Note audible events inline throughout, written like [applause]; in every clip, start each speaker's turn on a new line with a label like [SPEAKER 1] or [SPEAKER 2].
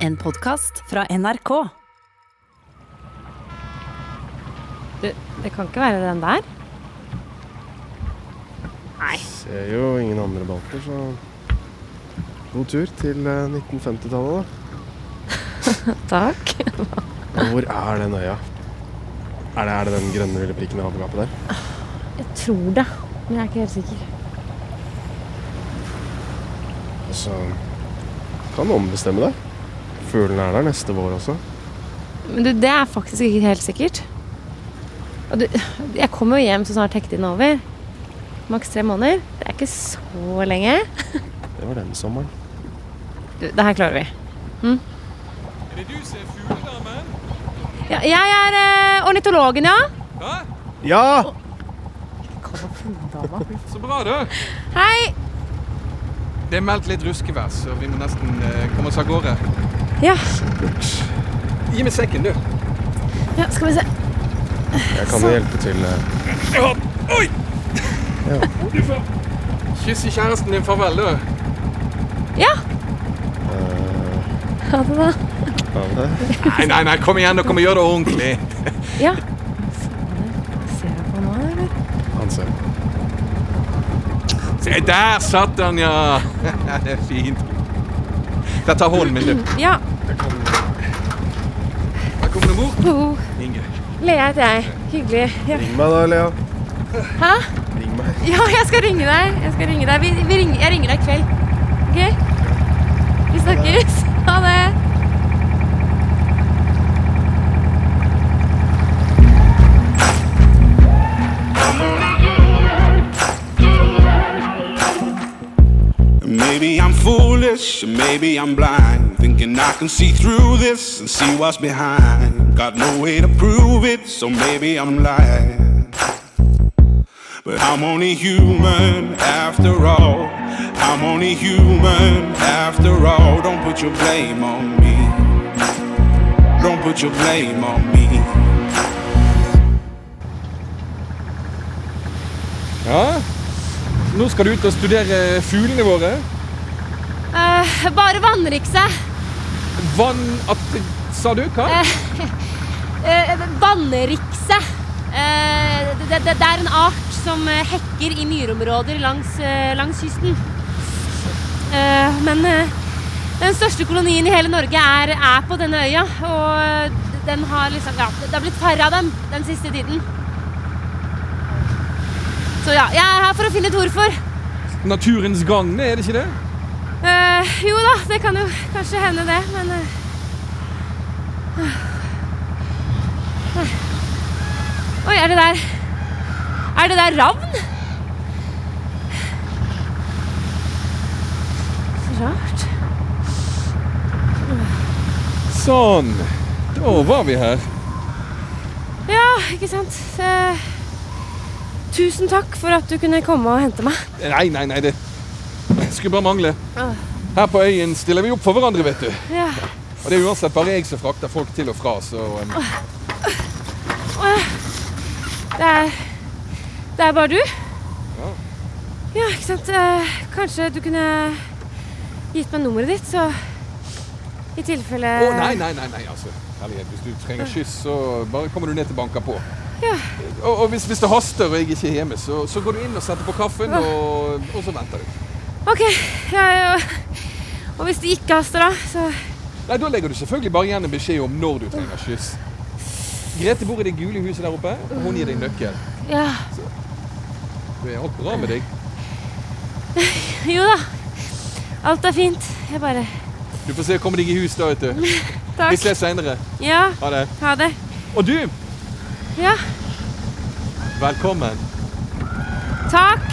[SPEAKER 1] En podkast fra NRK.
[SPEAKER 2] Du, det kan ikke være den der? Nei.
[SPEAKER 3] Ser jo ingen andre balter, så god tur til eh, 1950-tallet,
[SPEAKER 2] Takk.
[SPEAKER 3] da. Hvor er den øya? Er det, er det den grønne lille prikken i havgapet der?
[SPEAKER 2] Jeg tror det, men jeg er ikke helt sikker.
[SPEAKER 3] Og så Altså, kan du ombestemme deg. Fuglene er der neste vår også.
[SPEAKER 2] Men du, det er faktisk ikke helt sikkert. Og du, jeg kommer jo hjem så snart hektetiden er over. Maks tre måneder. Det er ikke så lenge.
[SPEAKER 3] Det var den sommeren.
[SPEAKER 2] Du, det her klarer vi.
[SPEAKER 4] Er det du som er fugledamen?
[SPEAKER 2] Ja, jeg er eh, ornitologen, ja.
[SPEAKER 4] Hæ?
[SPEAKER 3] Ja!
[SPEAKER 4] Så bra, du.
[SPEAKER 2] Hei.
[SPEAKER 4] Det er meldt litt ruskevær, så vi må nesten eh, komme oss av gårde.
[SPEAKER 2] Ja,
[SPEAKER 4] Gi meg sekken, du.
[SPEAKER 2] ja skal vi se.
[SPEAKER 3] Jeg kan jo hjelpe til. eh.
[SPEAKER 4] Ja. Oi!
[SPEAKER 3] Ja.
[SPEAKER 4] Du får kysse kjæresten din farvel, du.
[SPEAKER 2] Ja.
[SPEAKER 3] Eh,
[SPEAKER 2] Ha det, da.
[SPEAKER 3] ha det.
[SPEAKER 4] Nei, nei, nei, kom igjen, dere må gjøre det ordentlig.
[SPEAKER 2] Ja. Ser jeg på nå, eller?
[SPEAKER 3] Hanse.
[SPEAKER 4] Se, der satt han, ja. [laughs] Det er fint. Jeg tar hånden min, du.
[SPEAKER 2] Ja.
[SPEAKER 4] Her kommer det mor.
[SPEAKER 2] Oh,
[SPEAKER 4] Inge.
[SPEAKER 2] Lea heter jeg. Hyggelig. Ja.
[SPEAKER 3] Ring meg da, Lea.
[SPEAKER 2] Hæ?
[SPEAKER 3] Ring meg.
[SPEAKER 2] Ja, jeg skal ringe deg. Jeg skal ringe deg. Vi, vi ringer, jeg ringer deg i kveld. Ok? Vi snakkes. Ha det.
[SPEAKER 5] Maybe I'm foolish, maybe I'm blind, thinking I can see through this and see what's behind. Got no way to prove it, so maybe I'm lying. But I'm only human after all. I'm only human after all. Don't put your blame on me. Don't put your blame on me.
[SPEAKER 4] Ja. Nå skal du ut og studere fuglene våre.
[SPEAKER 2] Eh, bare vannrykse.
[SPEAKER 4] Vann... At, sa du hva?
[SPEAKER 2] Eh, vannrykse. Eh, det, det, det er en art som eh, hekker i myrområder langs, eh, langs kysten. Eh, men eh, den største kolonien i hele Norge er, er på denne øya. Og den har liksom, ja, det har blitt færre av dem den siste tiden. Så ja, jeg er her for å finne ut hvorfor.
[SPEAKER 4] Naturens gang, er det ikke det?
[SPEAKER 2] Eh, jo da, det kan jo kanskje hende det, men eh. Oi, er det der Er det der ravn? Rart.
[SPEAKER 4] Sånn. Da var vi her.
[SPEAKER 2] Ja, ikke sant. Eh, tusen takk for at du kunne komme og hente meg.
[SPEAKER 4] Nei, nei, nei, det skulle bare mangle. Her på øyen stiller vi opp for hverandre, vet du.
[SPEAKER 2] Ja.
[SPEAKER 4] Og det er uansett bare jeg som frakter folk til og fra, så um,
[SPEAKER 2] Det er, det er bare du? Ja, ikke sant. Eh, Kanskje du kunne gitt meg nummeret ditt, så i tilfelle
[SPEAKER 4] Å, nei, nei, nei, nei, altså. Herlighet, hvis du trenger skyss, så bare kommer du ned til banka på.
[SPEAKER 2] Ja.
[SPEAKER 4] Og, og hvis, hvis det haster og jeg ikke er hjemme, så, så går du inn og setter på kaffen, og, og så venter du.
[SPEAKER 2] OK. Ja, ja. Og hvis det ikke haster, da, så
[SPEAKER 4] Nei, da legger du selvfølgelig bare igjen en beskjed om når du trenger skyss. Grete bor i det gule huset der oppe, og hun gir deg nøkkel.
[SPEAKER 2] Ja.
[SPEAKER 4] Du er alt bra med deg.
[SPEAKER 2] Jo da. Alt er fint. Jeg bare
[SPEAKER 4] Du får se å komme deg i hus da, vet du. Vi
[SPEAKER 2] Takk.
[SPEAKER 4] ses seinere.
[SPEAKER 2] Ja,
[SPEAKER 4] Ha det.
[SPEAKER 2] ha det.
[SPEAKER 4] Og du,
[SPEAKER 2] Ja.
[SPEAKER 4] velkommen.
[SPEAKER 2] Takk.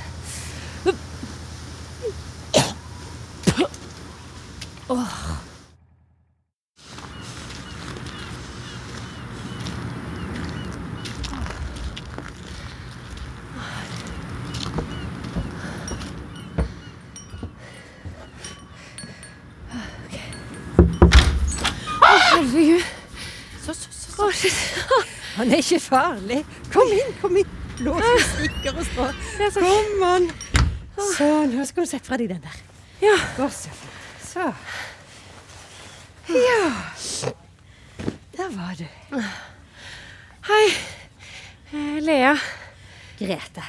[SPEAKER 2] Herregud.
[SPEAKER 1] Så, så, så,
[SPEAKER 2] Å, shit. [laughs]
[SPEAKER 1] Han er ikke farlig. Kom inn, kom inn. Lås med stikker og strå. Kom an. Sånn, nå skal du sette fra deg den der.
[SPEAKER 2] Ja.
[SPEAKER 1] Gå, sønn. Så. Ja. Der var du.
[SPEAKER 2] Hei. Eh, Lea.
[SPEAKER 1] Grete.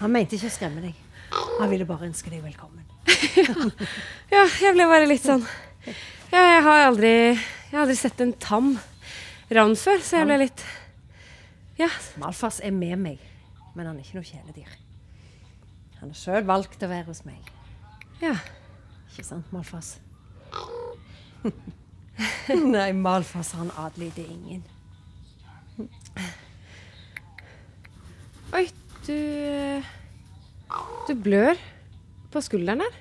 [SPEAKER 1] Han mente ikke å skremme deg. Han ville bare ønske deg velkommen.
[SPEAKER 2] Ja, jeg ble bare litt sånn ja, Jeg har aldri Jeg har aldri sett en tam ravn før, så jeg ble litt Ja.
[SPEAKER 1] Malfas er med meg, men han er ikke noe kjæledyr. Han har sjøl valgt å være hos meg.
[SPEAKER 2] ja.
[SPEAKER 1] Ikke sant, Malfas? [laughs] Nei, Malfas han adlyder ingen.
[SPEAKER 2] Oi, du eh, Du blør på skulderen der.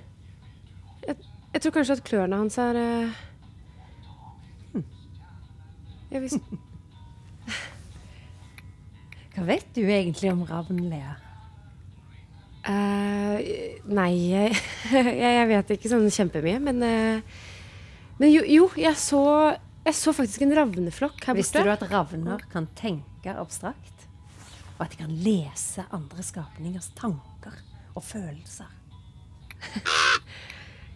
[SPEAKER 2] Jeg, jeg tror kanskje at klørne hans er eh, Hm. ja, hvis,
[SPEAKER 1] Hva vet du egentlig om ravnen, Lea?
[SPEAKER 2] Eh, Nei, jeg, [laughs] jeg, jeg vet ikke sånn kjempemye, men eh, Men jo, jo jeg, så, jeg så faktisk en ravneflokk her
[SPEAKER 1] Visste du
[SPEAKER 2] borte.
[SPEAKER 1] at ravner kan tenke abstrakt? Og at de kan lese andre skapningers tanker og følelser?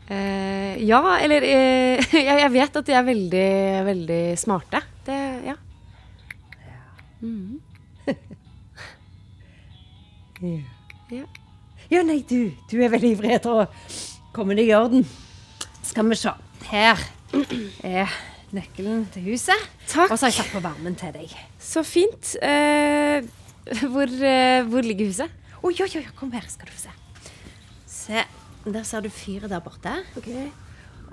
[SPEAKER 2] Eh, ja, eller eh, [laughs] jeg, jeg vet at de er veldig, veldig smarte. Det, ja.
[SPEAKER 1] Ja, nei, du, du er veldig ivrig etter å komme deg i orden. Skal vi se. Her er nøkkelen til huset.
[SPEAKER 2] Takk.
[SPEAKER 1] Og så har jeg satt på varmen til deg.
[SPEAKER 2] Så fint. Eh, [laughs] hvor, eh, hvor ligger huset?
[SPEAKER 1] Oi, oi, oi, kom her, skal du få se. Se, der ser du fyret der borte.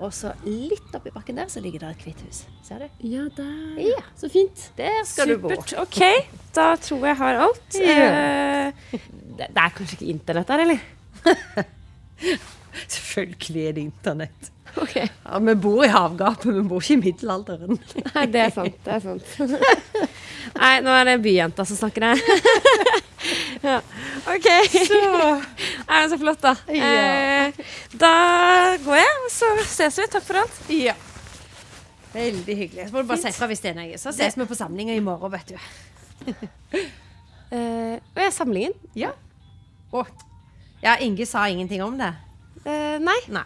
[SPEAKER 1] Og så litt oppi bakken der så ligger det et hvitt hus. Ser du?
[SPEAKER 2] Ja, der.
[SPEAKER 1] Ja, så fint. Der skal
[SPEAKER 2] Supert.
[SPEAKER 1] du bo.
[SPEAKER 2] OK, da tror jeg har alt.
[SPEAKER 1] Ja.
[SPEAKER 2] Eh, det, det er kanskje ikke internett der, eller?
[SPEAKER 1] Selvfølgelig er det internett.
[SPEAKER 2] Ok,
[SPEAKER 1] Ja, Vi bor i havgapet, vi bor ikke i middelalderen.
[SPEAKER 2] Nei, det er sant. det er sant. [laughs] Nei, nå er det byjenta som snakker her. [laughs] ja. OK. [laughs] Nei, men så flott, da.
[SPEAKER 1] Ja.
[SPEAKER 2] Eh, da går jeg, så ses vi. Takk for alt.
[SPEAKER 1] Ja. Veldig hyggelig. Så må du bare si fra hvis det er noe. Så ses vi på samlinga i morgen, vet du.
[SPEAKER 2] Eh, og jeg er samlingen?
[SPEAKER 1] Ja. Å. Ja, Inge sa ingenting om det.
[SPEAKER 2] Eh, nei.
[SPEAKER 1] Nei.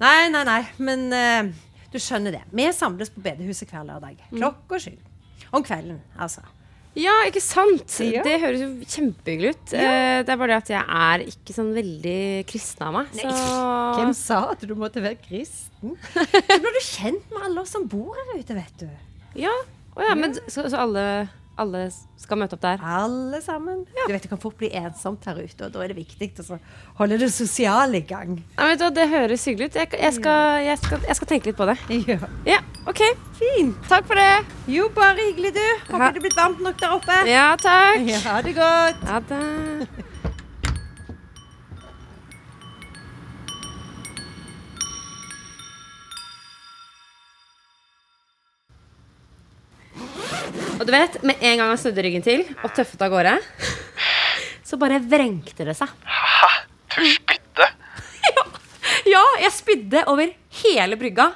[SPEAKER 1] Nei, nei, nei. Men eh, du skjønner det. Vi samles på bedehuset hver lørdag. Klokka sju. Om kvelden, altså.
[SPEAKER 2] Ja, ikke sant?
[SPEAKER 1] Ja.
[SPEAKER 2] Det høres jo kjempehyggelig ut. Eh, Det er bare det at jeg er ikke sånn veldig kristen av meg. Så
[SPEAKER 1] Hvem sa at du måtte være kristen? [laughs] Så blir du kjent med alle oss som bor her ute, vet du.
[SPEAKER 2] Ja, Å ja men så, så alle, alle skal møte opp der?
[SPEAKER 1] Alle sammen. Du vet, det kan fort bli ensomt her ute, og da er det viktig å så holde det sosiale i gang.
[SPEAKER 2] Nei, vet du, hva, Det høres hyggelig ut. Jeg, jeg, skal, jeg, skal, jeg skal tenke litt på det.
[SPEAKER 1] Ja.
[SPEAKER 2] Ja, OK.
[SPEAKER 1] Fint.
[SPEAKER 2] Takk for det.
[SPEAKER 1] Jo, bare hyggelig, du. Håper
[SPEAKER 2] Ja.
[SPEAKER 1] det er blitt varmt nok der oppe.
[SPEAKER 2] Ja, takk.
[SPEAKER 1] Ja, ha det godt.
[SPEAKER 2] Ha det. Og du vet, med en gang han snudde ryggen til og tøffet av gårde, så bare vrengte det seg.
[SPEAKER 3] Du spydde?
[SPEAKER 2] Ja, jeg spydde over hele brygga.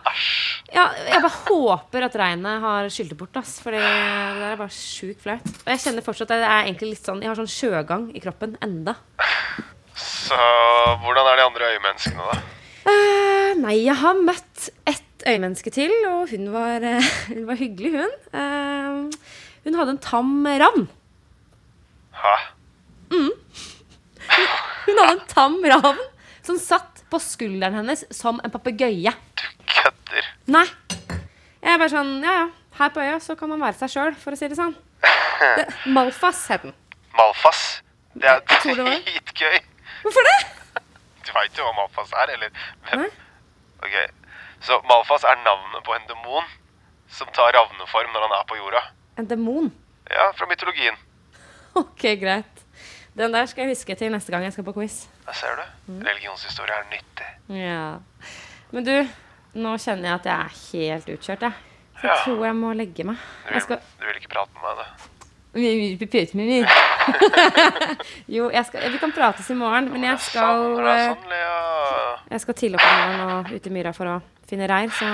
[SPEAKER 2] Ja, jeg bare håper at regnet har skylt det bort, ass. For det der er bare sjukt flaut. Og jeg kjenner fortsatt at jeg er egentlig litt sånn Jeg har sånn sjøgang i kroppen enda.
[SPEAKER 3] Så hvordan er de andre øyemenneskene, da?
[SPEAKER 2] Eh, nei, jeg har møtt ett øyemenneske til, og hun var, eh, hun var hyggelig, hun. Eh, hun hadde en tam ravn.
[SPEAKER 3] Hæ?
[SPEAKER 2] Hun hadde en tam ravn som satt på skulderen hennes som en papegøye.
[SPEAKER 3] Du kødder.
[SPEAKER 2] Nei. Jeg er bare sånn, ja ja, her på øya så kan man være seg sjøl, for å si det sånn. [laughs] Det, Malfas het den.
[SPEAKER 3] Malfas. Det er
[SPEAKER 2] tror det var.
[SPEAKER 3] dritgøy.
[SPEAKER 2] Hvorfor det?
[SPEAKER 3] Du veit jo hva Malfas er, eller hvem?
[SPEAKER 2] Nei.
[SPEAKER 3] Ok, Så Malfas er navnet på en demon som tar ravneform når han er på jorda.
[SPEAKER 2] En demon. [laughs]
[SPEAKER 3] Ja, fra mytologien.
[SPEAKER 2] Ok, greit. Den der skal jeg huske til neste gang jeg skal på quiz.
[SPEAKER 3] Der ser du.
[SPEAKER 2] Mm.
[SPEAKER 3] Religionshistorie er nyttig.
[SPEAKER 2] Ja. Men du, nå kjenner jeg at jeg er helt utkjørt, jeg. Så jeg
[SPEAKER 3] Ja.
[SPEAKER 2] tror jeg må legge meg.
[SPEAKER 3] Du
[SPEAKER 2] Jeg
[SPEAKER 3] vil,
[SPEAKER 2] skal
[SPEAKER 3] du vil ikke prate med meg, du?
[SPEAKER 2] Vi- vi- vi prater med [laughs] vi. Jo, jeg skal, vi kan prates i morgen, men jeg
[SPEAKER 3] Sånn,
[SPEAKER 2] skal,
[SPEAKER 3] det er
[SPEAKER 2] eh,
[SPEAKER 3] sånn, Lea.
[SPEAKER 2] jeg skal tidlig opp i morgen og ut i myra for å finne reir, så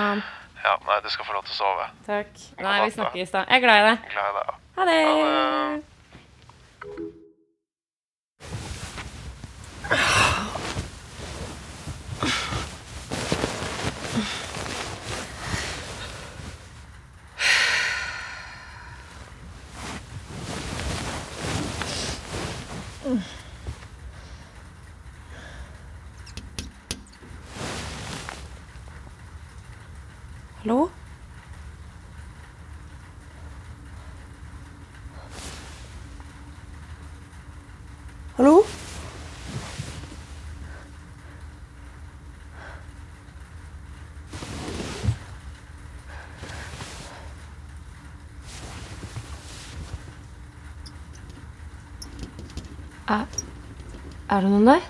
[SPEAKER 3] Ja, nei, du skal få lov til å sove.
[SPEAKER 2] Takk. Nei, vi snakkes da. Jeg er glad i deg.
[SPEAKER 3] Glad i deg. ja.
[SPEAKER 2] Ha det!
[SPEAKER 3] Ha
[SPEAKER 2] Hallo? Hallo?
[SPEAKER 6] Er det noen der?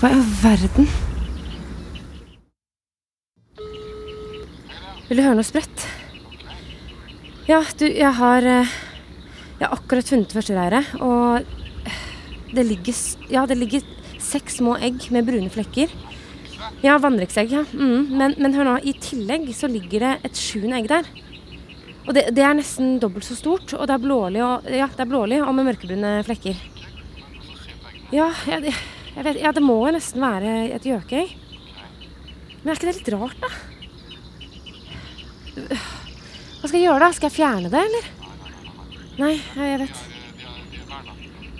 [SPEAKER 2] Hva i all verden? Vil du høre noe sprøtt? Ja, du, jeg har eh, Jeg har akkurat funnet første reiret, og det ligger s- Ja, det ligger seks små egg med brune flekker. Ja, vannreksegg, ja. Mm, men, men hør nå, i tillegg så ligger det et sjuende egg der. Og det, det er nesten dobbelt så stort, og det er blålig og, ja, det er blålig og med mørkebrune flekker. Ja, jeg, jeg vet, ja, det må jo nesten være et gjøkøy. Men er ikke det litt rart, da? Hva skal jeg gjøre, da? Skal jeg fjerne det, eller? Nei, ja, jeg vet.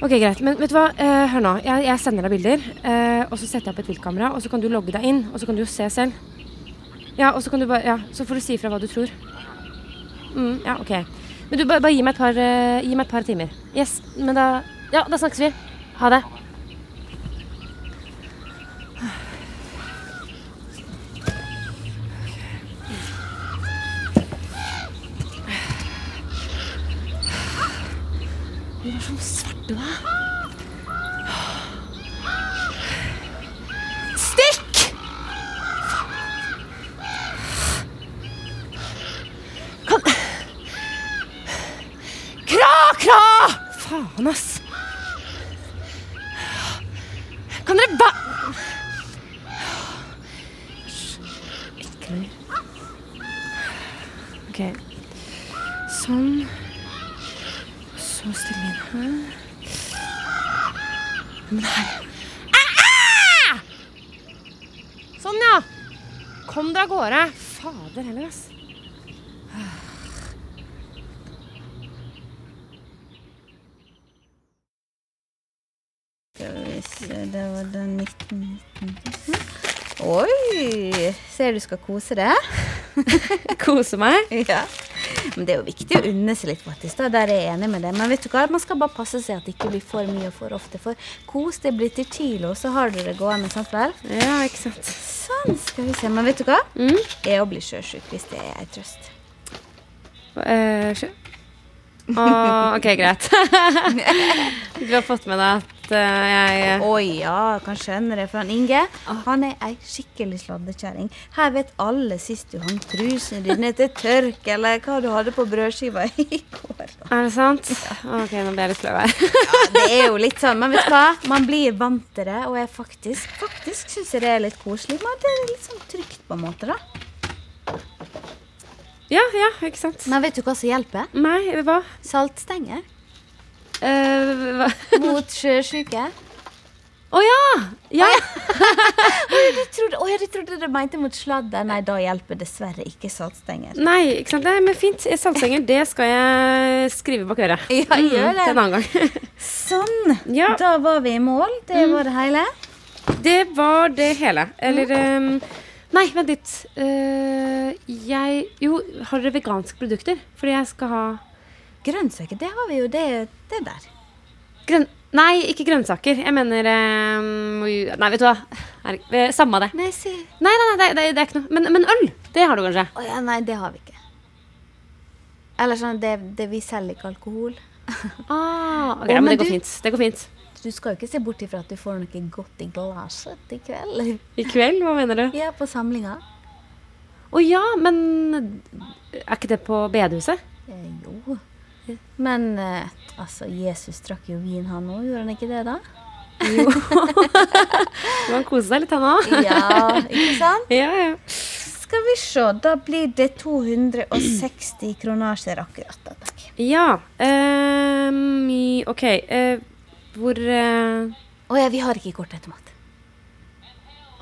[SPEAKER 2] Ok, greit. Men vet du hva? Eh, hør nå. Jeg, jeg sender deg bilder, eh, og så setter jeg opp et viltkamera, og så kan du logge deg inn, og så kan du jo se selv. Ja, og så kan du bare Ja, så får du si ifra hva du tror. Mm, ja, ok. Men du, bare, bare gi meg et par eh, Gi meg et par timer. Yes. Men da Ja, da snakkes vi. Ha det. Faen, ass! Kan dere ba... Hysj. Ikke noe mer. Ok. Sånn. Så stille inn her. Men her Ah, ah! Sånn, ja. Kom deg av gårde. Fader heller, ass.
[SPEAKER 7] Det var den 19... 19. Oi! Ser du skal kose deg.
[SPEAKER 2] [laughs]
[SPEAKER 7] [laughs]
[SPEAKER 2] Kose meg.
[SPEAKER 7] Ja. Men det er jo viktig å unne seg litt, faktisk. da, Der er jeg enig med det. Men vet du hva? man skal bare passe seg at det ikke blir for mye og for ofte. For kos det blir til kilo, så har du det gående. sant vel?
[SPEAKER 2] Ja, ikke sant.
[SPEAKER 7] Sånn, skal vi se. Men vet du hva? Jeg òg blir sjøsjuk hvis det er ei trøst.
[SPEAKER 2] [laughs] Eh, sjø... Å, ok, greit. [laughs] du har fått med deg at at eh, jeg
[SPEAKER 7] [laughs] Å ja, kan skjønne det for han Inge. Han er ei skikkelig sladdekjerring. Her vet alle sist du hang trusene dine til tørk, eller hva du hadde på brødskiva i går.
[SPEAKER 2] Er det sant? Ok, nå ble jeg litt flau her.
[SPEAKER 7] Det er jo litt sånn, men vet du hva? Man blir vant til det, og jeg faktisk, faktisk syns jeg det er litt koselig. Men det er litt sånn trygt, på en måte, da.
[SPEAKER 2] Ja, ja, ikke sant?
[SPEAKER 7] Men vet du hva som hjelper?
[SPEAKER 2] Nei, hva?
[SPEAKER 7] Saltstenge
[SPEAKER 2] Eh, hva?
[SPEAKER 7] mot sjøsyke.
[SPEAKER 2] Å ja! Ja,
[SPEAKER 7] Jeg trodde, å, jeg trodde du mente mot sladder. Nei, da hjelper dessverre ikke saltstenger.
[SPEAKER 2] Nei, ikke sant? Nei, men fint. Saltstenger, det skal jeg skrive bak øret.
[SPEAKER 7] Ja, gjør det.
[SPEAKER 2] Til en annen gang. [laughs]
[SPEAKER 7] Sånn.
[SPEAKER 2] Ja.
[SPEAKER 7] Da var vi i mål. Det var det hele.
[SPEAKER 2] Det var det hele. Eller ehm, Nei, vent litt. Eh, jeg Jo, har dere veganske produkter? Fordi jeg skal ha
[SPEAKER 7] Grønnsaker, det har vi jo. Det, det der.
[SPEAKER 2] grønn... Nei, ikke grønnsaker. Jeg mener ehm, jo- Nei, vet du hva. Herregud, eh, Samme det.
[SPEAKER 7] Nei, si.
[SPEAKER 2] Nei, nei, nei det, det, det er ikke noe. Men, men øl, det har du kanskje?
[SPEAKER 7] Å ja, nei, det har vi ikke. Eller sånn, det, det vi selger ikke alkohol.
[SPEAKER 2] Ah, ok,
[SPEAKER 7] Å,
[SPEAKER 2] ja, men
[SPEAKER 7] men
[SPEAKER 2] det går
[SPEAKER 7] du-
[SPEAKER 2] fint. Det går fint.
[SPEAKER 7] Du skal jo ikke se bort ifra at du får noe godt i glasset i kveld. [laughs]
[SPEAKER 2] I kveld? Hva mener du?
[SPEAKER 7] Ja, på samlinga.
[SPEAKER 2] Å ja, men er ikke det på bedehuset?
[SPEAKER 7] Eh, jo. Men eh, altså, Jesus drakk jo vin, han òg. Gjorde han ikke det, da?
[SPEAKER 2] Du kan kose deg litt, han òg.
[SPEAKER 7] [laughs] Ja, ikke sant?
[SPEAKER 2] [laughs] Ja, ja.
[SPEAKER 7] Skal vi se, da blir det 260 kronasjer akkurat. da, takk.
[SPEAKER 2] ja ehm, i- OK. eh, hvor eh,
[SPEAKER 7] Å ja, vi har ikke kortautomat.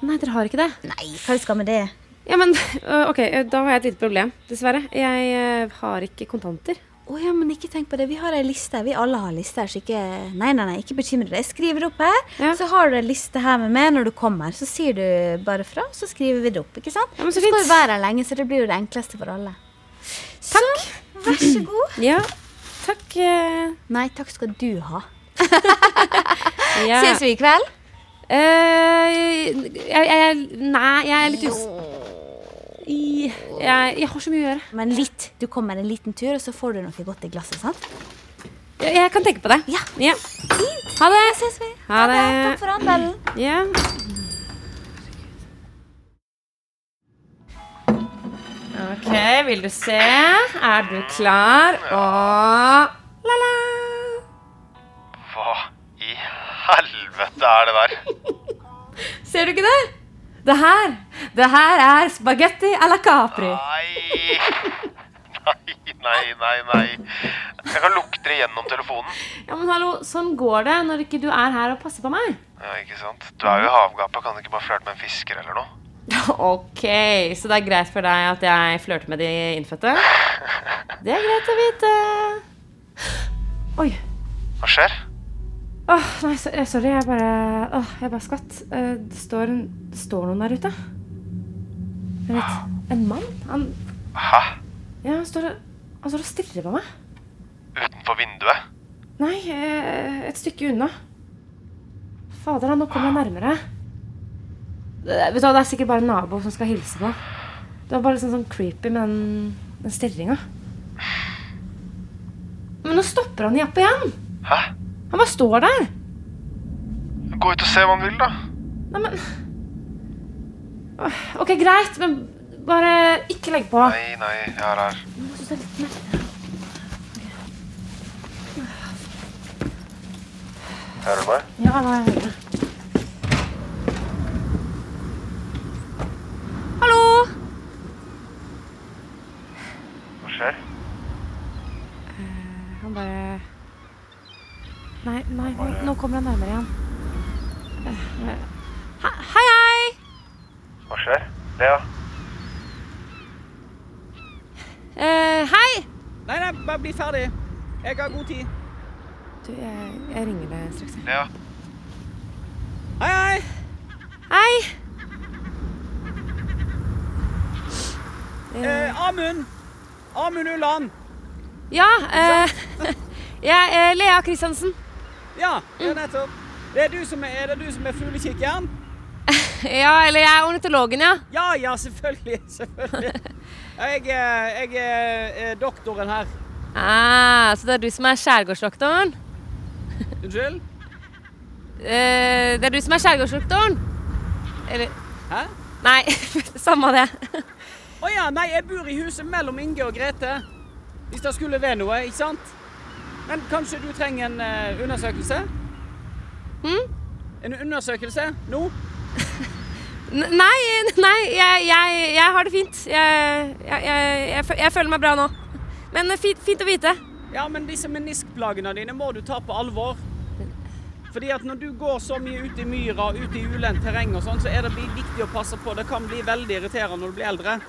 [SPEAKER 2] Nei, dere har ikke det.
[SPEAKER 7] Nei, hva skal vi med det?
[SPEAKER 2] Ja, men [laughs] eh, OK, eh, da har jeg et lite problem, dessverre. Jeg eh, har ikke kontanter.
[SPEAKER 7] Å ja, men ikke tenk på det. Vi har ei liste. her. Vi alle har liste her, så ikke Nei, nei, nei, ikke bekymre deg. Jeg skriver det opp her.
[SPEAKER 2] Ja.
[SPEAKER 7] Så har du ei liste her med meg når du kommer. Så sier du bare fra, så skriver vi det opp. ikke sant?
[SPEAKER 2] Ja, men så
[SPEAKER 7] Du skal
[SPEAKER 2] fint.
[SPEAKER 7] jo være her lenge, så det blir jo det enkleste for alle. Takk. Så, vær så god.
[SPEAKER 2] Ja, takk. eh,
[SPEAKER 7] [clears throat] Nei, takk skal du ha.
[SPEAKER 2] ja.
[SPEAKER 7] Ses vi i kveld?
[SPEAKER 2] Eh, jeg, jeg, nei, jeg er litt us... I- Jeg, jeg har så mye å gjøre.
[SPEAKER 7] Men litt. Du kommer en liten tur, og så får du noe godt i glasset. sant?
[SPEAKER 2] Jeg, jeg kan tenke på det.
[SPEAKER 7] Ja.
[SPEAKER 2] ja.
[SPEAKER 7] Fint.
[SPEAKER 2] Ha det.
[SPEAKER 7] Ses vi.
[SPEAKER 2] Ha det.
[SPEAKER 7] Takk for handelen.
[SPEAKER 2] Ja. Ok, vil du se? Er du klar? Og la-la!
[SPEAKER 3] Hva i helvete er det der?
[SPEAKER 2] Ser du ikke det? Det her, det her er spagetti à la Capri.
[SPEAKER 3] Nei. Nei, nei, nei, nei. Jeg kan lukte det gjennom telefonen.
[SPEAKER 2] Ja, men hallo, Sånn går det når ikke du er her og passer på meg.
[SPEAKER 3] Ja, ikke sant? Du er
[SPEAKER 2] Mm.
[SPEAKER 3] jo i havgapet, kan du ikke bare flørte med en fisker eller noe?
[SPEAKER 2] [laughs] Ok, Så det er greit for deg at jeg flørter med de innfødte? Det er greit å vite. Oi.
[SPEAKER 3] Hva skjer?
[SPEAKER 2] Åh, nei, så- eh, sorry. Jeg bare Åh, jeg bare skvatt. Eh, Det står, en, det står noen der ute. Jeg vet En mann? Han
[SPEAKER 3] Hæ?
[SPEAKER 2] Ja, han står, og- han står og stirrer på meg.
[SPEAKER 3] Utenfor vinduet?
[SPEAKER 2] Nei, eh, et stykke unna. Fader, da, nå kommer jeg nærmere. Det, vet du hva, Det er sikkert bare en nabo som skal hilse på. Det var bare sånn, sånn creepy med den, den stirringa. Men nå stopper han Jappe igjen!
[SPEAKER 3] Hæ?
[SPEAKER 2] Han bare står der.
[SPEAKER 3] Gå ut og se hva han vil, da.
[SPEAKER 2] Nei, men Åh, Ok, greit, men bare ikke legg på.
[SPEAKER 3] Nei, nei, jeg er her. Hører du meg?
[SPEAKER 2] Ja, nå er jeg høyere. Hallo!
[SPEAKER 3] Hva skjer?
[SPEAKER 2] Eh, Han bare Nei, nei, nå, nå kommer han nærmere igjen. Eh, he- Hei, hei!
[SPEAKER 3] Hva skjer? Lea?
[SPEAKER 2] Eh, hei!
[SPEAKER 4] Nei, nei, bare bli ferdig. Jeg har god tid.
[SPEAKER 2] Du, jeg, jeg ringer deg straks. jeg.
[SPEAKER 3] Lea?
[SPEAKER 4] Hei, hei.
[SPEAKER 2] Hei!
[SPEAKER 4] Eh, Amund. Amund Ulland.
[SPEAKER 2] Ja, eh, [laughs] jeg er Lea Kristiansen.
[SPEAKER 4] Ja, ja, nettopp. Det er, du som er, er det du som er fuglekikkeren?
[SPEAKER 2] Ja, eller jeg er ornitologen, ja.
[SPEAKER 4] Ja, ja, selvfølgelig. [laughs] Selvfølgelig. Jeg, eh, jeg eh, er doktoren her.
[SPEAKER 2] Ah, så det er du som er skjærgårdsdoktoren?
[SPEAKER 4] Unnskyld?
[SPEAKER 8] Eh, det er du som er skjærgårdsdoktoren? Eller
[SPEAKER 9] Hæ?
[SPEAKER 2] [laughs]
[SPEAKER 8] Nei, samme det.
[SPEAKER 9] Å ja, nei, jeg bor i huset mellom Inge og Grete. Hvis det skulle være noe, ikke sant? Men kanskje du trenger en eh, undersøkelse?
[SPEAKER 8] Hm?
[SPEAKER 9] En undersøkelse nå?
[SPEAKER 8] N- Nei, nei jeg, jeg, jeg har det fint. Jeg, jeg, jeg, jeg, fø- jeg føler meg bra nå. Men eh, fint, fint å vite.
[SPEAKER 9] Ja, men disse meniskplagene dine må du ta på alvor. Fordi at når du går så mye ute i myra, ute i ulendt terreng og sånn, så er det bi- viktig å passe på. Det kan bli veldig irriterende når du blir eldre.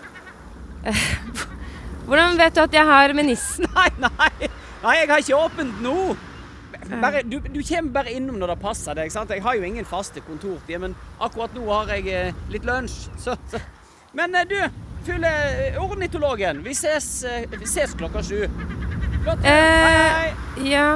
[SPEAKER 8] Hvordan vet du at jeg har meniss?
[SPEAKER 9] Nei, nei. Nei, jeg har ikke åpent nå. Bare, du, du kommer bare innom når det passer deg. sant? Jeg har jo ingen faste kontortid, men akkurat nå har jeg eh, litt lunsj. [laughs] Så, så. Men eh, du, fylle ornitologen. Vi ses, eh, vi ses klokka sju. Flott.
[SPEAKER 8] Eh, ja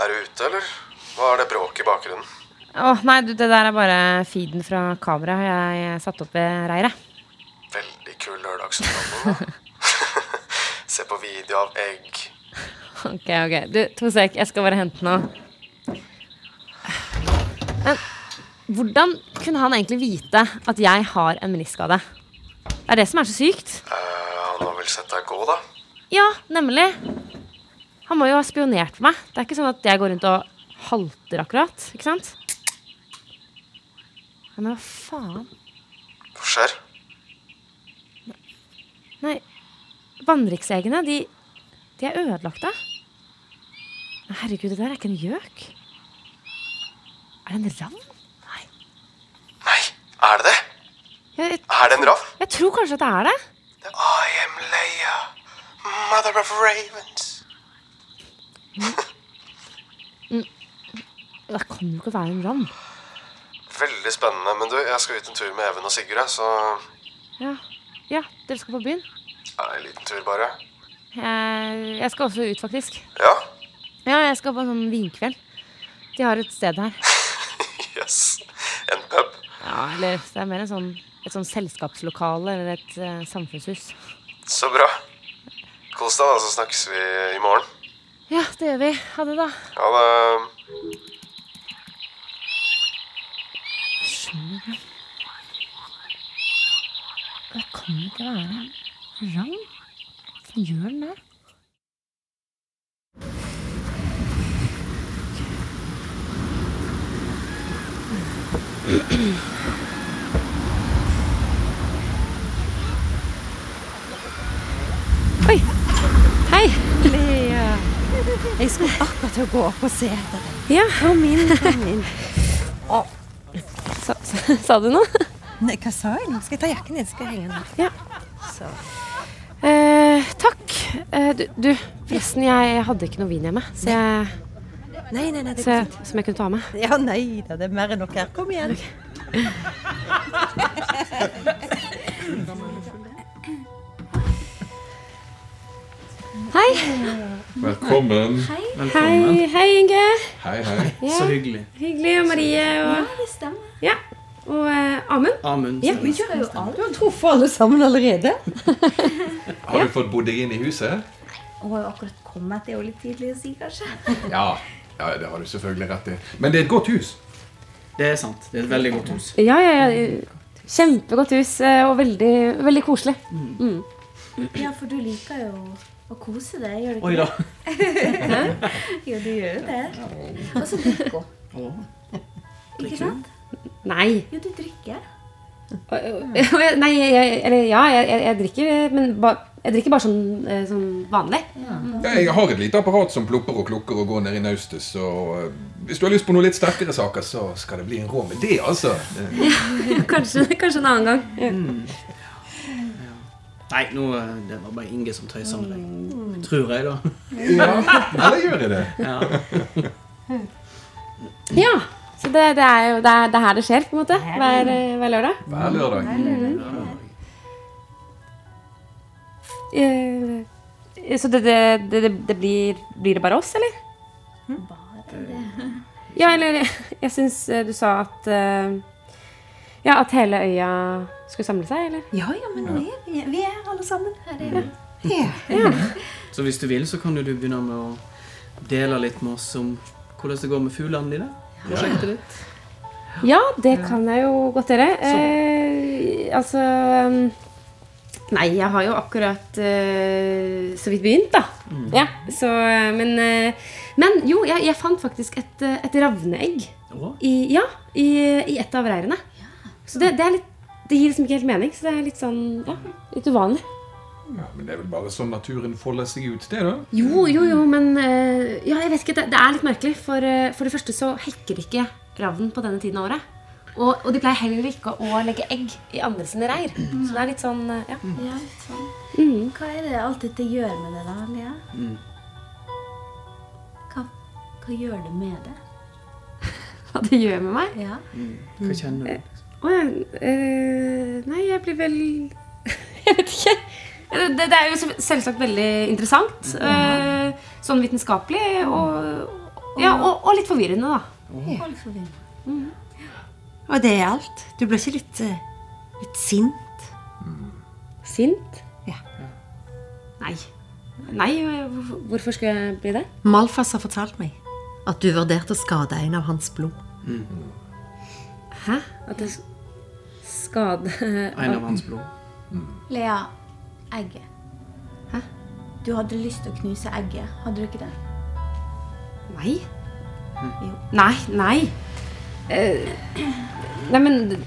[SPEAKER 3] Er du ute, eller? Hva er det bråket i bakgrunnen?
[SPEAKER 2] Å, nei, du, det der er bare feeden fra kameraet jeg satte opp ved reiret. [laughs]
[SPEAKER 3] Veldig kul lørdagsunderholdning. da. [laughs] Se på video av egg.
[SPEAKER 2] Ok, ok. Du, to sek. Jeg skal bare hente noe. Men hvordan kunne han egentlig vite at jeg har en meniskskade? Det er det som er så sykt.
[SPEAKER 3] Eh, han har vel sett deg gå, da?
[SPEAKER 2] Ja, nemlig. Han må jo ha spionert på meg. Det er ikke sånn at jeg går rundt og halter akkurat. Ikke sant? Ja, Men hva faen?
[SPEAKER 3] Hva skjer?
[SPEAKER 2] Nei, vannriksegene, de, de er ødelagte. Nei, herregud, det der er ikke en gjøk. Er det en ravn?
[SPEAKER 3] Er det det?
[SPEAKER 2] Jeg,
[SPEAKER 3] Er det en ravn?
[SPEAKER 2] jeg tror kanskje at det er det.
[SPEAKER 3] I am Leia, mother of ravens.
[SPEAKER 2] Det kan jo ikke være en ravn.
[SPEAKER 3] Veldig spennende. Men du, jeg skal ut en tur med Even og Sigurd, jeg, så
[SPEAKER 2] Ja. ja, dere skal på byen?
[SPEAKER 3] ja, En liten tur, bare.
[SPEAKER 2] Jeg, jeg skal også ut, faktisk.
[SPEAKER 3] Ja?
[SPEAKER 2] Ja, jeg skal på en sånn vinkveld. De har et sted her.
[SPEAKER 3] Yes. En pub.
[SPEAKER 2] Ja, eller det er mer en sånn, et sånn selskapslokale eller et eh, samfunnshus.
[SPEAKER 3] Så bra. Kos deg, da, så snakkes vi i morgen.
[SPEAKER 2] Ja, det gjør vi. Ha det, da.
[SPEAKER 3] Ha det.
[SPEAKER 2] Skjønner du? Det kan ikke være en ravn. Hva gjør den der? Oi. Hei. Lea.
[SPEAKER 1] Jeg skulle akkurat til å gå opp og se etter deg.
[SPEAKER 2] Ja.
[SPEAKER 1] Kom inn, kom inn.
[SPEAKER 2] [laughs] Å. Sa, sa, sa du noe?
[SPEAKER 1] Nei, hva sa jeg nå? Skal jeg ta jakken din? Skal jeg henge den her?
[SPEAKER 2] Ja.
[SPEAKER 1] Så.
[SPEAKER 2] Eh, takk. Eh, du, du, forresten, jeg hadde ikke noe vin hjemme, så jeg,
[SPEAKER 1] Nei, nei, nei, det
[SPEAKER 2] så
[SPEAKER 1] går
[SPEAKER 2] jeg,
[SPEAKER 1] fint.
[SPEAKER 2] som jeg kunne ta med.
[SPEAKER 1] Ja, nei da, det er mer enn nok her. Kom igjen.
[SPEAKER 2] Hei.
[SPEAKER 4] Velkommen.
[SPEAKER 2] Hei,
[SPEAKER 4] Velkommen.
[SPEAKER 2] hei, hei Inge.
[SPEAKER 4] Hei, hei.
[SPEAKER 2] Ja.
[SPEAKER 4] Så hyggelig.
[SPEAKER 2] Hyggelig. Og Marie og
[SPEAKER 1] det stemmer.
[SPEAKER 2] Ja. Og eh, Amund.
[SPEAKER 4] Amund.
[SPEAKER 1] Ja, vi kjører jo alt. Du har truffet alle sammen allerede.
[SPEAKER 4] Har du fått bodd deg inn i huset?
[SPEAKER 1] Og jeg akkurat kommet, det er jo litt tidlig å si, kanskje.
[SPEAKER 4] Ja. ja, det har du selvfølgelig rett i. Men det er et godt hus. Det er sant. Det er et veldig godt hus.
[SPEAKER 2] Ja, ja, ja. Kjempegodt hus eh, og veldig, veldig koselig. Mm.
[SPEAKER 7] Ja, for du liker jo å kose deg, gjør du ikke
[SPEAKER 2] Oi da.
[SPEAKER 7] det? jo, du gjør jo det. Og så drikker hun. Ikke sant?
[SPEAKER 2] Nei.
[SPEAKER 7] Jo, du drikker.
[SPEAKER 2] [laughs] Nei, jeg, jeg- eller ja, jeg, jeg, jeg drikker, eh, men ba, jeg drikker bare sånn, eh, sånn vanlig.
[SPEAKER 4] Ja, Jeg har et lite apparat som plopper og klukker og går ned i naustet, så eh, hvis du har lyst på noe litt sterkere saker, så skal det bli en rå med det, [laughs] altså. Det-
[SPEAKER 2] kanskje, [laughs] kanskje en annen gang.
[SPEAKER 10] Nei, nå, eh, det var bare Inge som tøysa med deg. Tror jeg, da.
[SPEAKER 4] Ja, eller gjør jeg det?
[SPEAKER 10] Ja.
[SPEAKER 2] Ja, så det, det er jo det, er, det er her det skjer, på en måte. Hver, eh, hver lørdag.
[SPEAKER 4] Hver lørdag.
[SPEAKER 2] Hver lørdag. Eh, Så det, det, det, det blir, blir det bare oss, eller?
[SPEAKER 7] Bare.
[SPEAKER 2] [laughs] Ja, eller jeg syns eh, du sa at eh, Ja, at hele øya skulle samle seg, eller?
[SPEAKER 7] Ja, ja, men nå er vi, vi er alle sammen her. Det er,
[SPEAKER 11] Så hvis du vil, så kan jo du begynne med å dele litt med oss om hvordan det går med fuglene dine. Prosjektet ditt.
[SPEAKER 2] Ja, det kan jeg jo godt gjøre. Eh, altså um, Nei, jeg har jo akkurat eh, så vidt begynt, da.
[SPEAKER 7] Mm.
[SPEAKER 2] Ja, så, eh, men, eh, men jo, jeg, jeg fant faktisk et, eh, et ravneegg
[SPEAKER 11] Å?
[SPEAKER 2] i, ja, i, i et av reirene. Så det, det, er litt, det gir liksom ikke helt mening, så det er litt sånn ja, litt uvanlig.
[SPEAKER 4] Ja, men det er vel bare sånn naturen folder seg ut, det, da.
[SPEAKER 2] Jo, jo, jo, men eh, Ja, jeg vet ikke, det, det er litt merkelig. For, eh, for det første så hekker ikke ravnen på denne tiden av året. Og, og de pleier heller ikke å legge egg i andre sine reir. Så det er litt sånn eh, ja.
[SPEAKER 7] ja, sånn. Hva er det alt dette gjør med det, da, Lea? Hva, hva gjør det med det?
[SPEAKER 2] Hva det gjør med meg?
[SPEAKER 7] Ja.
[SPEAKER 11] Hva kjenner du?
[SPEAKER 2] Å ja. eh, nei, jeg blir vel [laughs] Jeg vet ikke. Det, det er jo selv- selvsagt veldig interessant. eh, sånn vitenskapelig og Ja, og, og litt forvirrende, da.
[SPEAKER 7] Hold for vind.
[SPEAKER 1] Og det er alt. Du blir ikke litt, eh, litt sint?
[SPEAKER 2] Sint?
[SPEAKER 1] Ja.
[SPEAKER 2] Nei. Nei, hvorfor- hvorfor skulle jeg bli det?
[SPEAKER 1] Malfas har fortalt meg at du vurderte å skade en av hans blod.
[SPEAKER 2] Hæ? At det s- skade
[SPEAKER 11] En av hans blod.
[SPEAKER 7] Lea, egget. Du hadde lyst til å knuse egget, hadde du ikke det?
[SPEAKER 2] Nei. Nei, nei. Eh, nei, men d-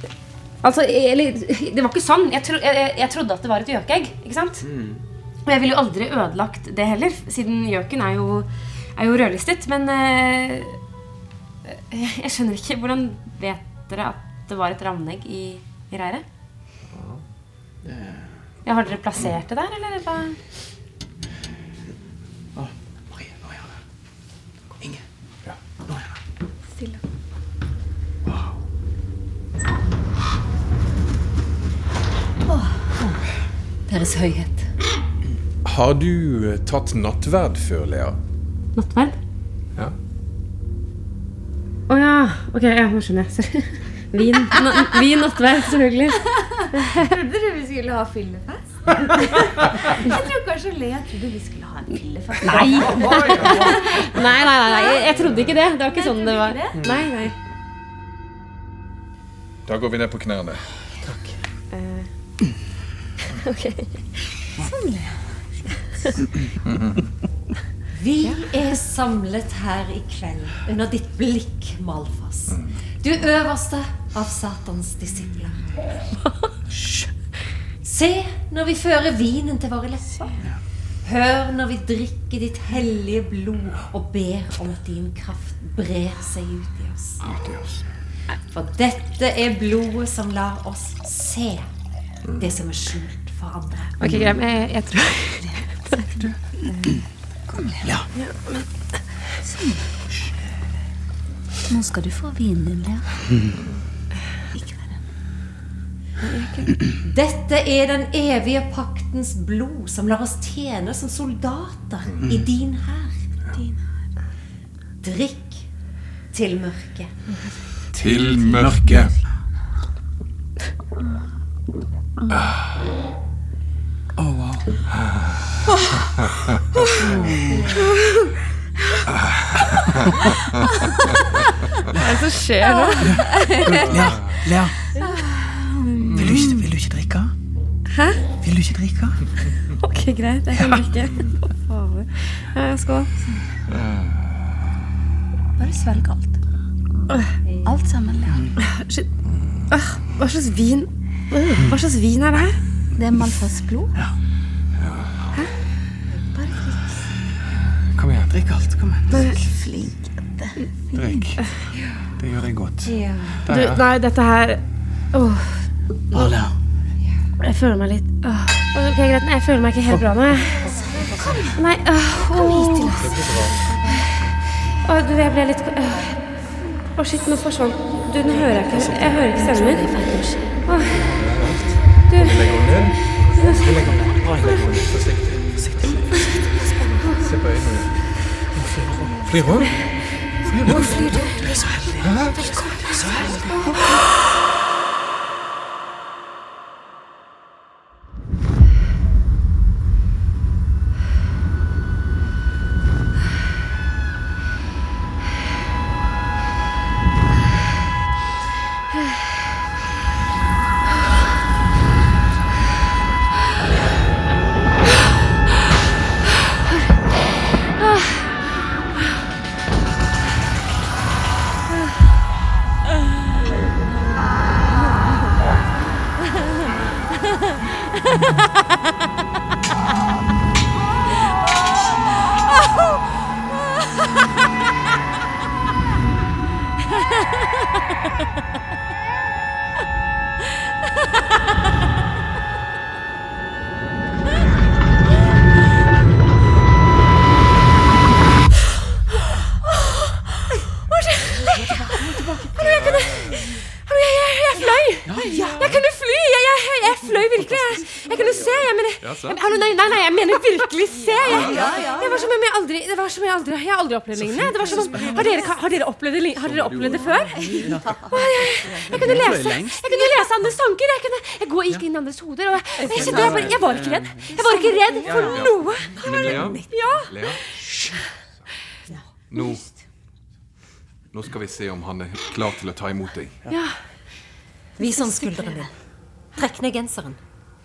[SPEAKER 2] Altså, eller Det var ikke sånn. Jeg, tro, jeg, jeg trodde at det var et gjøkeegg. Ikke sant? Og jeg ville jo aldri ødelagt det heller, siden gjøken er jo, er jo rødlistet. Men eh, jeg, jeg skjønner ikke Hvordan vet dere at det var et ravneegg i, i reiret? Ja, har dere plassert det der, eller? hva?
[SPEAKER 7] Stille.
[SPEAKER 1] Deres høyhet.
[SPEAKER 4] Har du eh, tatt nattverd før, Lea?
[SPEAKER 2] Nattverd?
[SPEAKER 4] Ja.
[SPEAKER 2] Å ja. Ok, ja, nå skjønner jeg. Sorry. [laughs] Vin, na- vin nattverd, selvfølgelig.
[SPEAKER 7] Trodde du vi skulle ha fyllefest? [laughs] jeg tror kanskje Lea trodde vi skulle ha en fyllefest.
[SPEAKER 2] Nei. Nei, nei, nei, nei. Jeg, jeg trodde ikke det. Det var ikke sånn det var.
[SPEAKER 7] ikke det?
[SPEAKER 2] Nei, nei.
[SPEAKER 4] Da går vi ned på knærne.
[SPEAKER 2] Eh, ok.
[SPEAKER 1] Sånn, Vi er samlet her i kveld under ditt blikk, Malfas. Du øverste av Satans disipler. Hysj. Se når vi fører vinen til våre lepper. Hør når vi drikker ditt hellige blod og ber om at din kraft brer seg ut i oss. For dette er blodet som lar oss se det som er skjult for andre.
[SPEAKER 2] Ok, greit. men Jeg, jeg tror [laughs]
[SPEAKER 7] Kom, Lea. Sånn. Nå skal du få vinen din, Lea.
[SPEAKER 1] Dette er den evige paktens blod som lar oss tjene som soldater i din hær. Drikk til mørket.
[SPEAKER 4] Til mørket.
[SPEAKER 11] Å, wow.
[SPEAKER 7] Hva
[SPEAKER 2] er det som skjer
[SPEAKER 11] Lea, Lea. Vil du ikke, vil du ikke drikke?
[SPEAKER 2] Hæ?
[SPEAKER 11] Vil du ikke drikke?
[SPEAKER 2] Ok, greit. Jeg kan drikke. Fader. Eh, Skål.
[SPEAKER 7] Bare svelg alt. Alt sammen, Lea.
[SPEAKER 2] Shit. Ah, Hva slags vin Øh, Hva slags vin er det her?
[SPEAKER 7] Det er Malfas blod.
[SPEAKER 4] Kom igjen, drikk alt. Kom igjen.
[SPEAKER 7] Flink jente.
[SPEAKER 4] Drikk. Det gjør deg godt.
[SPEAKER 7] Ja.
[SPEAKER 4] Der, ja.
[SPEAKER 2] Du, nei, dette her Åh. Jeg føler meg litt åh. Ok, greit, nei, jeg føler meg ikke helt bra nå. jeg. Nei, åh. Åh, du, jeg ble litt Åh, Åh, shit, nå forsvant Du, nå hører jeg ikke Jeg hører ikke stemmen min. Åh. Du
[SPEAKER 4] Legg om ned. Legg om ned. Bra, legg om ned. Forsiktig. Forsiktig. Se på øynene. Flyr hun? Flyr hun?
[SPEAKER 11] Hvor flyr du? Velkommen til Israel.
[SPEAKER 1] Jeg kunne Hallo, jeg, jeg, jeg fløy! Jeg kunne fly! Jeg, jeg, jeg fløy virkelig. Jeg, jeg kunne se. Jeg mener
[SPEAKER 2] Ja, så.
[SPEAKER 1] jeg, Hallo, nei, nei, nei, jeg mener virkelig se. Jeg,
[SPEAKER 2] Ja, ja, ja.
[SPEAKER 1] Det var som om jeg aldri Det var som om jeg aldri Jeg har aldri opplevd lignende. Det var som om Har dere, har dere opplevd det li- har dere opplevd det før? Å, Jeg, jeg kunne lese Jeg kunne lese andres tanker. Jeg, kunne, jeg går, gikk inn i andres hoder. Og jeg, jeg, kjente, jeg, bare, jeg var ikke redd. Jeg var ikke redd for noe.
[SPEAKER 4] Men Lea,
[SPEAKER 1] Ja.
[SPEAKER 4] Lea. Nå, nå skal vi se om han er klar til å ta imot deg.
[SPEAKER 12] Ja. Vis ham skulderen din. Trekk ned genseren.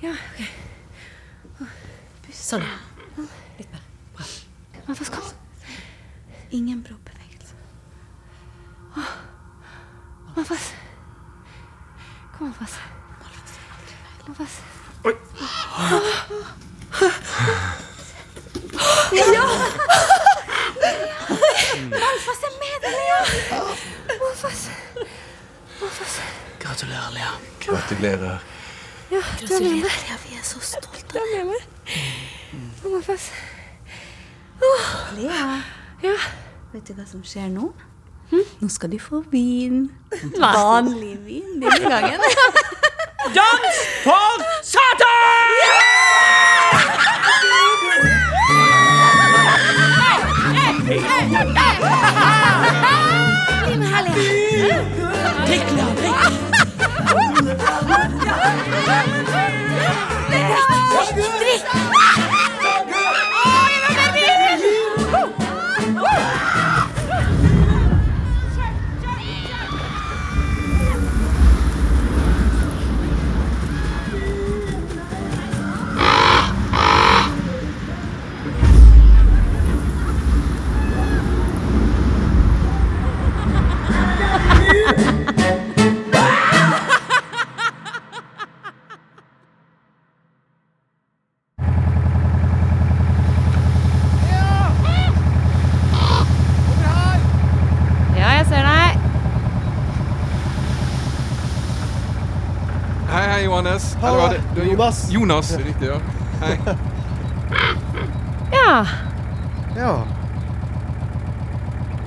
[SPEAKER 1] Ja, ok.
[SPEAKER 12] Sånn.
[SPEAKER 1] Hva skal
[SPEAKER 7] Ingen bråbevegelse.
[SPEAKER 1] Malfas. Kom, Malfas. Malfas.
[SPEAKER 11] Ja!
[SPEAKER 1] Malfas er med deg, Lea! Malfas. Malfas.
[SPEAKER 13] Gratulerer, Lea.
[SPEAKER 4] Gratulerer.
[SPEAKER 1] Ja, du er med meg. Vi er så stolte. Du er med meg. Å, Malfas. Åh.
[SPEAKER 7] Lea,
[SPEAKER 1] Ja.
[SPEAKER 7] vet du hva som skjer nå? Nå skal du få vin.
[SPEAKER 1] Hm? Hva?
[SPEAKER 7] Vanlig vin denne gangen.
[SPEAKER 9] Dans for Satan!
[SPEAKER 11] Bli med her, Lea. Drikk, Lea. Drikk. Drikk, drikk. Oi, hva med bilen?
[SPEAKER 2] Ja, jeg ser deg.
[SPEAKER 4] Hei, hei, Johannes. Eller hva er det? Du er Jo- Jonas, er riktig, ja. Hei.
[SPEAKER 2] Ja.
[SPEAKER 3] Ja.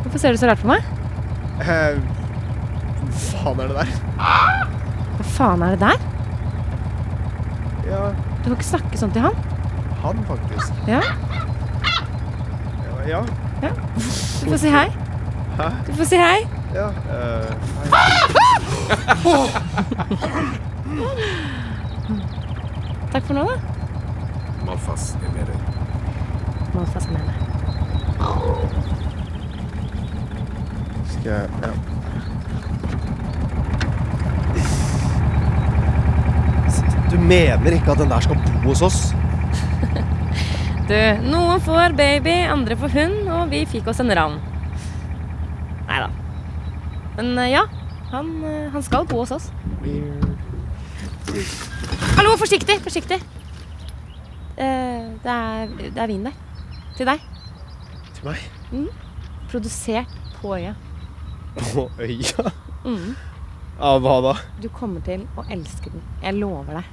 [SPEAKER 2] Hvorfor ser du så rart på meg?
[SPEAKER 3] Eh, faen er det der?
[SPEAKER 2] Hva faen er det der?
[SPEAKER 3] Ja,
[SPEAKER 2] Du kan ikke snakke sånn til han.
[SPEAKER 3] han faktisk.
[SPEAKER 2] Ja?
[SPEAKER 3] Ja.
[SPEAKER 2] ja. Du får si hei.
[SPEAKER 3] Hæ?
[SPEAKER 2] Du får si hei.
[SPEAKER 3] Ja. eh,
[SPEAKER 2] Takk for nå, da.
[SPEAKER 4] Malfas er med deg.
[SPEAKER 2] Malfas er med meg.
[SPEAKER 3] skal jeg ja. Du mener ikke at den der skal bo hos oss?
[SPEAKER 2] Du, noen får baby, andre får hund, og vi fikk oss en ravn. Nei da. Men eh, ja, han, eh, han skal bo hos oss. Hallo, forsiktig! Forsiktig. Eh, det, er, det er vin der. Til deg.
[SPEAKER 3] Til meg?
[SPEAKER 2] Mm. Produsert på øya.
[SPEAKER 3] På øya?
[SPEAKER 2] Mm.
[SPEAKER 3] Av hva da?
[SPEAKER 2] Du kommer til å elske den. Jeg lover deg.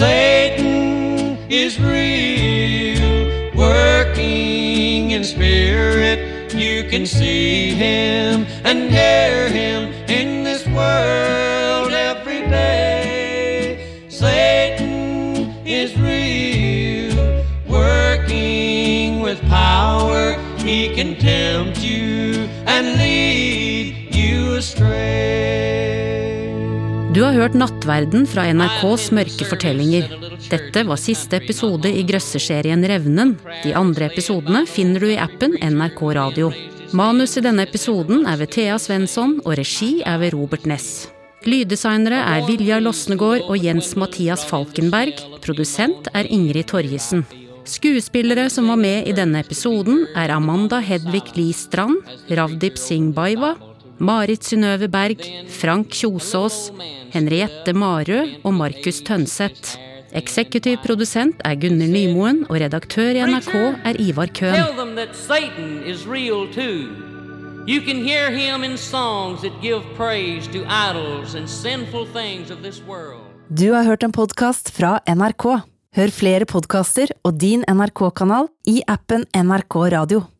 [SPEAKER 11] Satan is real, working in spirit. You can see him and hear him in this world every day. Satan Du har hørt Nattverden fra NRKs mørke fortellinger. Dette var siste episode i grøsserserien Revnen. De andre episodene finner du i appen NRK Radio. Manus i denne episoden er ved Thea Svensson, og regi er ved Robert Ness. Lyddesignere er Viljar Losnegård og Jens Mathias Falkenberg. Produsent er Ingrid Torjesen. Skuespillere som var med i denne episoden, er Amanda Hedvig Lie Strand, Ravdip Singh Baiva, Marit Synnøve Berg, Frank Kjosås, Henriette Marød og Markus Tønseth. Eksekutiv produsent er Gunnhild Nymoen, og redaktør i NRK er Ivar Køhn.
[SPEAKER 14] Tell them that Satan is real too. You can hear him in songs that give praise to idols and sinful things of this world.
[SPEAKER 11] Du har hørt en podkast fra NRK. Hør flere podkaster og din NRK-kanal i appen NRK Radio.